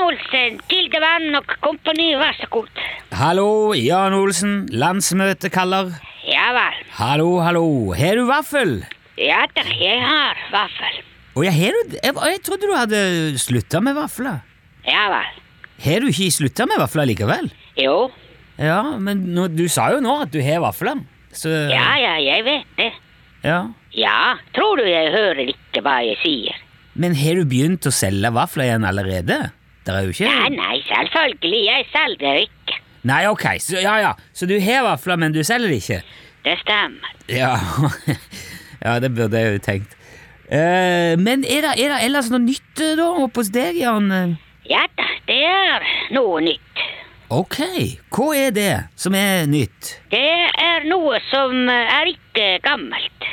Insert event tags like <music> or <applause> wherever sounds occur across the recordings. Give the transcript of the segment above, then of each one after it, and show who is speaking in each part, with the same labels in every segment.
Speaker 1: Olsen, Tilde Vann og kompani, vær så god.
Speaker 2: Hallo, Jan Olsen. Landsmøte kaller.
Speaker 1: Ja vel.
Speaker 2: Hallo, hallo. Har du vaffel?
Speaker 1: Ja da, jeg har vaffel.
Speaker 2: Å ja, har du Jeg, jeg trodde du hadde slutta med vafler.
Speaker 1: Ja vel.
Speaker 2: Har du ikke slutta med vafler likevel?
Speaker 1: Jo.
Speaker 2: Ja, men nå, du sa jo nå at du har vafler. Så
Speaker 1: Ja ja, jeg vet det.
Speaker 2: ja.
Speaker 1: Ja, tror du jeg hører ikke hva jeg sier?
Speaker 2: Men har du begynt å selge vafler igjen allerede? Det er jo ikke
Speaker 1: Nei, nei, selvfølgelig, jeg selger ikke.
Speaker 2: Nei, ok. Så, ja, ja. så du har vafler, men du selger de ikke?
Speaker 1: Det stemmer.
Speaker 2: Ja, <laughs> ja det burde jeg jo tenkt. Eh, men er det, er det ellers noe nytt eh, da oppe hos deg, Jan?
Speaker 1: Ja da, det er noe nytt.
Speaker 2: Ok, hva er det som er nytt?
Speaker 1: Det er noe som er ikke gammelt.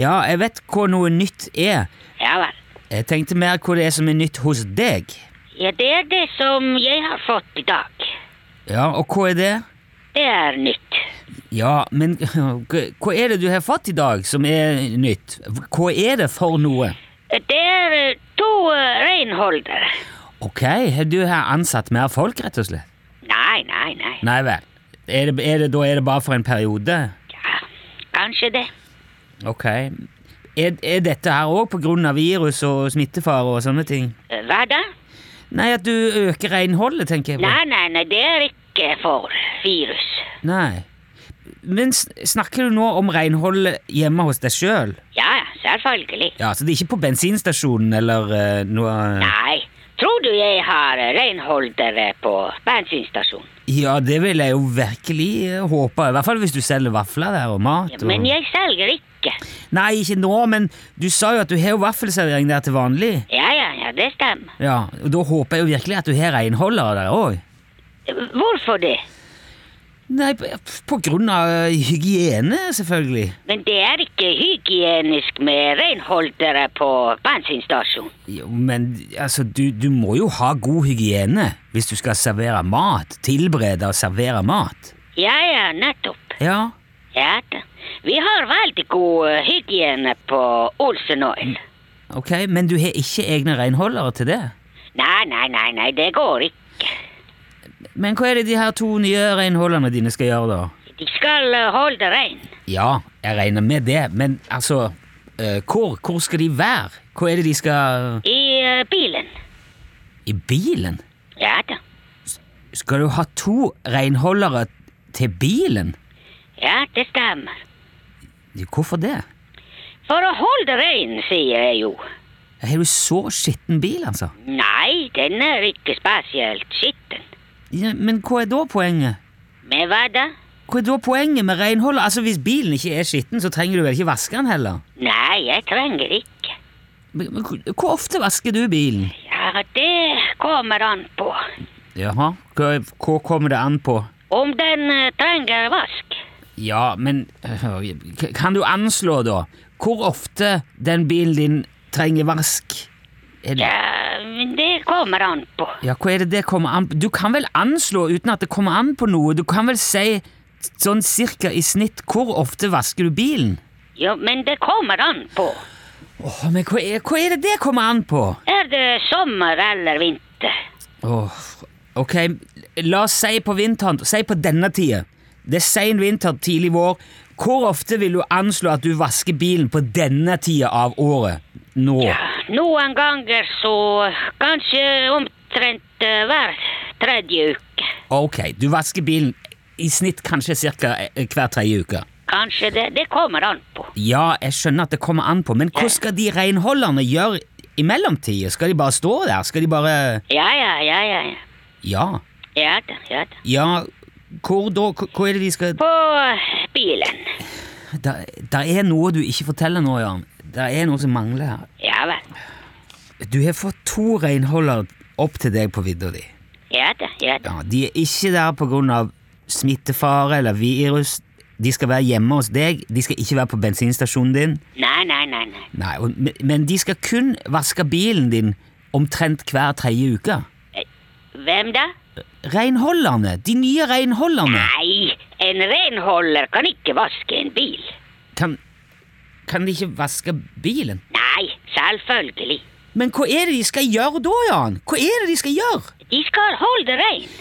Speaker 2: Ja, jeg vet hva noe nytt er.
Speaker 1: Ja vel.
Speaker 2: Jeg tenkte mer hva det er som er nytt hos deg.
Speaker 1: Ja, det er det som jeg har fått i dag.
Speaker 2: Ja, og hva er det?
Speaker 1: Det er nytt.
Speaker 2: Ja, men <laughs> hva er det du har fått i dag som er nytt? Hva er det for noe?
Speaker 1: Det er eh, to eh, renholdere.
Speaker 2: Ok, har du her ansatt mer folk, rett og slett?
Speaker 1: Nei, nei, nei.
Speaker 2: Nei vel. Er det, er det, da er det bare for en periode?
Speaker 1: Ja, kanskje det.
Speaker 2: Ok. Er, er dette her òg på grunn av virus og smittefare og sånne ting?
Speaker 1: Eh, Hva da?
Speaker 2: Nei, at du øker renholdet, tenker jeg på.
Speaker 1: Nei, nei, nei, det er ikke for virus.
Speaker 2: Nei. Men s- snakker du nå om renhold hjemme hos deg sjøl?
Speaker 1: Ja, ja, selvfølgelig.
Speaker 2: Ja, så det er ikke på bensinstasjonen eller eh, noe
Speaker 1: Nei, tror du jeg har eh, renholdere på bensinstasjonen?
Speaker 2: Ja, det vil jeg jo virkelig eh, håpe. I hvert fall hvis du selger vafler der og mat.
Speaker 1: Ja,
Speaker 2: Og...
Speaker 1: Men jeg selger ikke.
Speaker 2: Nei, ikke nå, men du sa jo at du har jo vaffelservering der til vanlig.
Speaker 1: Ja, ja, ja, det stemmer.
Speaker 2: Ja, og Da håper jeg jo virkelig at du har renholdere der òg.
Speaker 1: Eh, Hvorfor det?
Speaker 2: Nei, på, på grunn av eh, hygiene, selvfølgelig.
Speaker 1: Men det er ikke hygienisk med renholdere på bensinstasjonen.
Speaker 2: Jo, men altså, du, du må jo ha god hygiene hvis du skal servere mat. Tilberede og servere mat.
Speaker 1: Ja, ja, nettopp.
Speaker 2: Ja.
Speaker 1: Ja da. Vi har veldig god eh, hygiene på Olsen Oil.
Speaker 2: Ok, Men du har ikke egne renholdere til det?
Speaker 1: Nei, nei, nei, nei, det går ikke.
Speaker 2: Men hva er det de her to nye renholderne dine skal gjøre, da?
Speaker 1: De skal eh, holde rein.
Speaker 2: Ja, jeg regner med det, men altså eh, hvor, hvor skal de være? Hva er det de skal
Speaker 1: I eh, bilen.
Speaker 2: I bilen?
Speaker 1: Ja da.
Speaker 2: Skal du ha to renholdere til bilen?
Speaker 1: Ja, det stemmer.
Speaker 2: Hvorfor det?
Speaker 1: For å holde rein, sier jeg jo.
Speaker 2: Har du så skitten bil, altså?
Speaker 1: Nei, den er ikke spesielt skitten.
Speaker 2: Ja, men hva er da poenget?
Speaker 1: Men hva da?
Speaker 2: Hva er da poenget med renholdet? Altså, Hvis bilen ikke er skitten, så trenger du vel ikke vaske den heller?
Speaker 1: Nei, jeg trenger ikke.
Speaker 2: Men, men hvor- hvor ofte vasker du bilen?
Speaker 1: Ja, det kommer an på.
Speaker 2: Jaha, hva, hva kommer det an på?
Speaker 1: Om den eh, trenger vask.
Speaker 2: Ja, men øh, k- Kan du anslå, da, hvor ofte den bilen din trenger vask? Er det,
Speaker 1: Ja, men det kommer an på.
Speaker 2: ja, hva er det det kommer an på? Du kan vel anslå uten at det kommer an på noe? Du kan vel si sånn cirka i snitt hvor ofte vasker du bilen?
Speaker 1: Jo, men det kommer an på.
Speaker 2: Åh, men hva er, hva er det det kommer an på?
Speaker 1: Er det sommer eller vinter?
Speaker 2: Åh, ok, la oss si på vinteren, si på denne tida. Det er sen vinter, tidlig vår. Hvor ofte vil du anslå at du vasker bilen på denne tida av året? Nå?
Speaker 1: Noen ganger så kanskje omtrent eh, hver tredje uke.
Speaker 2: Ok, du vasker bilen i snitt kanskje cirka eh, hver tredje uke.
Speaker 1: Kanskje det. Det kommer an på.
Speaker 2: Ja, jeg skjønner at det kommer an på, men hva skal de renholderne gjøre i mellomtida? Skal de bare stå der? Skal de bare
Speaker 1: Ja, ja, ja, ja. ja.
Speaker 2: Ja.
Speaker 1: Ja da, ja da.
Speaker 2: Ja, hvor da? Hva hva er det de skal
Speaker 1: På eh, bilen.
Speaker 2: Der der er noe du ikke forteller nå, Jan. Det er noe som mangler her.
Speaker 1: Ja vel.
Speaker 2: Du har fått to renholdere opp til deg på vidda di.
Speaker 1: Ja da, ja da.
Speaker 2: Ja, de er ikke der pga. smittefare eller virus. De skal være hjemme hos deg, de skal ikke være på bensinstasjonen din.
Speaker 1: Nei, nei, nei. nei.
Speaker 2: Nei, og, men- Men de skal kun vaske bilen din omtrent hver tredje uke.
Speaker 1: Hvem da?
Speaker 2: Renholderne! De nye renholderne!
Speaker 1: Nei, en renholder kan ikke vaske en bil.
Speaker 2: Kan, kan de ikke vaske bilen?
Speaker 1: Nei, selvfølgelig.
Speaker 2: Men hva er det de skal gjøre da, Jan? Hva er det de skal gjøre?
Speaker 1: De skal holde det reint.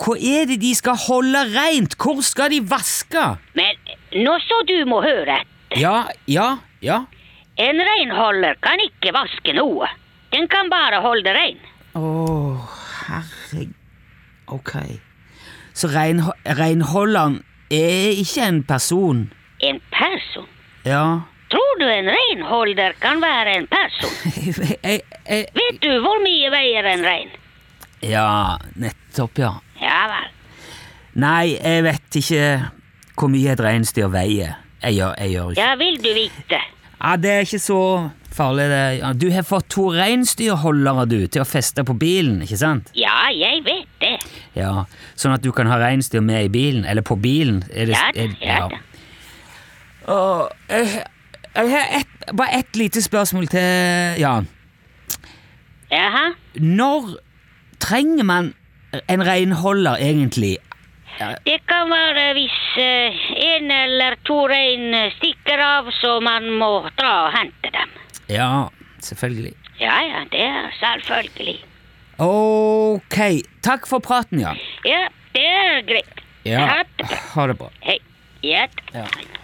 Speaker 2: Hva er det de skal holde rent? Hvor skal de vaske?
Speaker 1: Men nå så du må høre.
Speaker 2: Ja, ja, ja.
Speaker 1: En renholder kan ikke vaske noe. Den kan bare holde rein.
Speaker 2: Å, herre... Ok. Så reinho- renholderen er ikke en person?
Speaker 1: En person.
Speaker 2: Ja.
Speaker 1: Tror du en renholder kan være en person?
Speaker 2: Jeg, jeg, jeg,
Speaker 1: Vet du hvor mye veier en rein?
Speaker 2: ja, nettopp, ja.
Speaker 1: Ja vel.
Speaker 2: Nei, jeg vet ikke hvor mye et reinsdyr veier. Jeg gjør, jeg gjør ikke.
Speaker 1: Ja, vil du vite.
Speaker 2: Ja, det er ikke så farlig, det. Ja, du har fått to reinsdyrholdere, du, til å feste på bilen, ikke sant?
Speaker 1: Ja, jeg vet det.
Speaker 2: Ja, sånn at du kan ha reinsdyr med i bilen, eller på bilen. Er det,
Speaker 1: Ja da,
Speaker 2: er,
Speaker 1: ja da.
Speaker 2: Åh, jeg, eh, jeg har ett- bare ett lite spørsmål til Jan.
Speaker 1: Jaha.
Speaker 2: Når trenger man en renholder, egentlig?
Speaker 1: Det kan være hvis eh, en eller to rein stikker av, så man må dra og hente dem.
Speaker 2: Ja, selvfølgelig.
Speaker 1: Ja ja, det er selvfølgelig.
Speaker 2: Ok, takk for praten, Jan.
Speaker 1: Ja, det er greit.
Speaker 2: Ja,
Speaker 1: Ha det bra.
Speaker 2: ha det bra.
Speaker 1: Hei. Ja.
Speaker 2: Ja.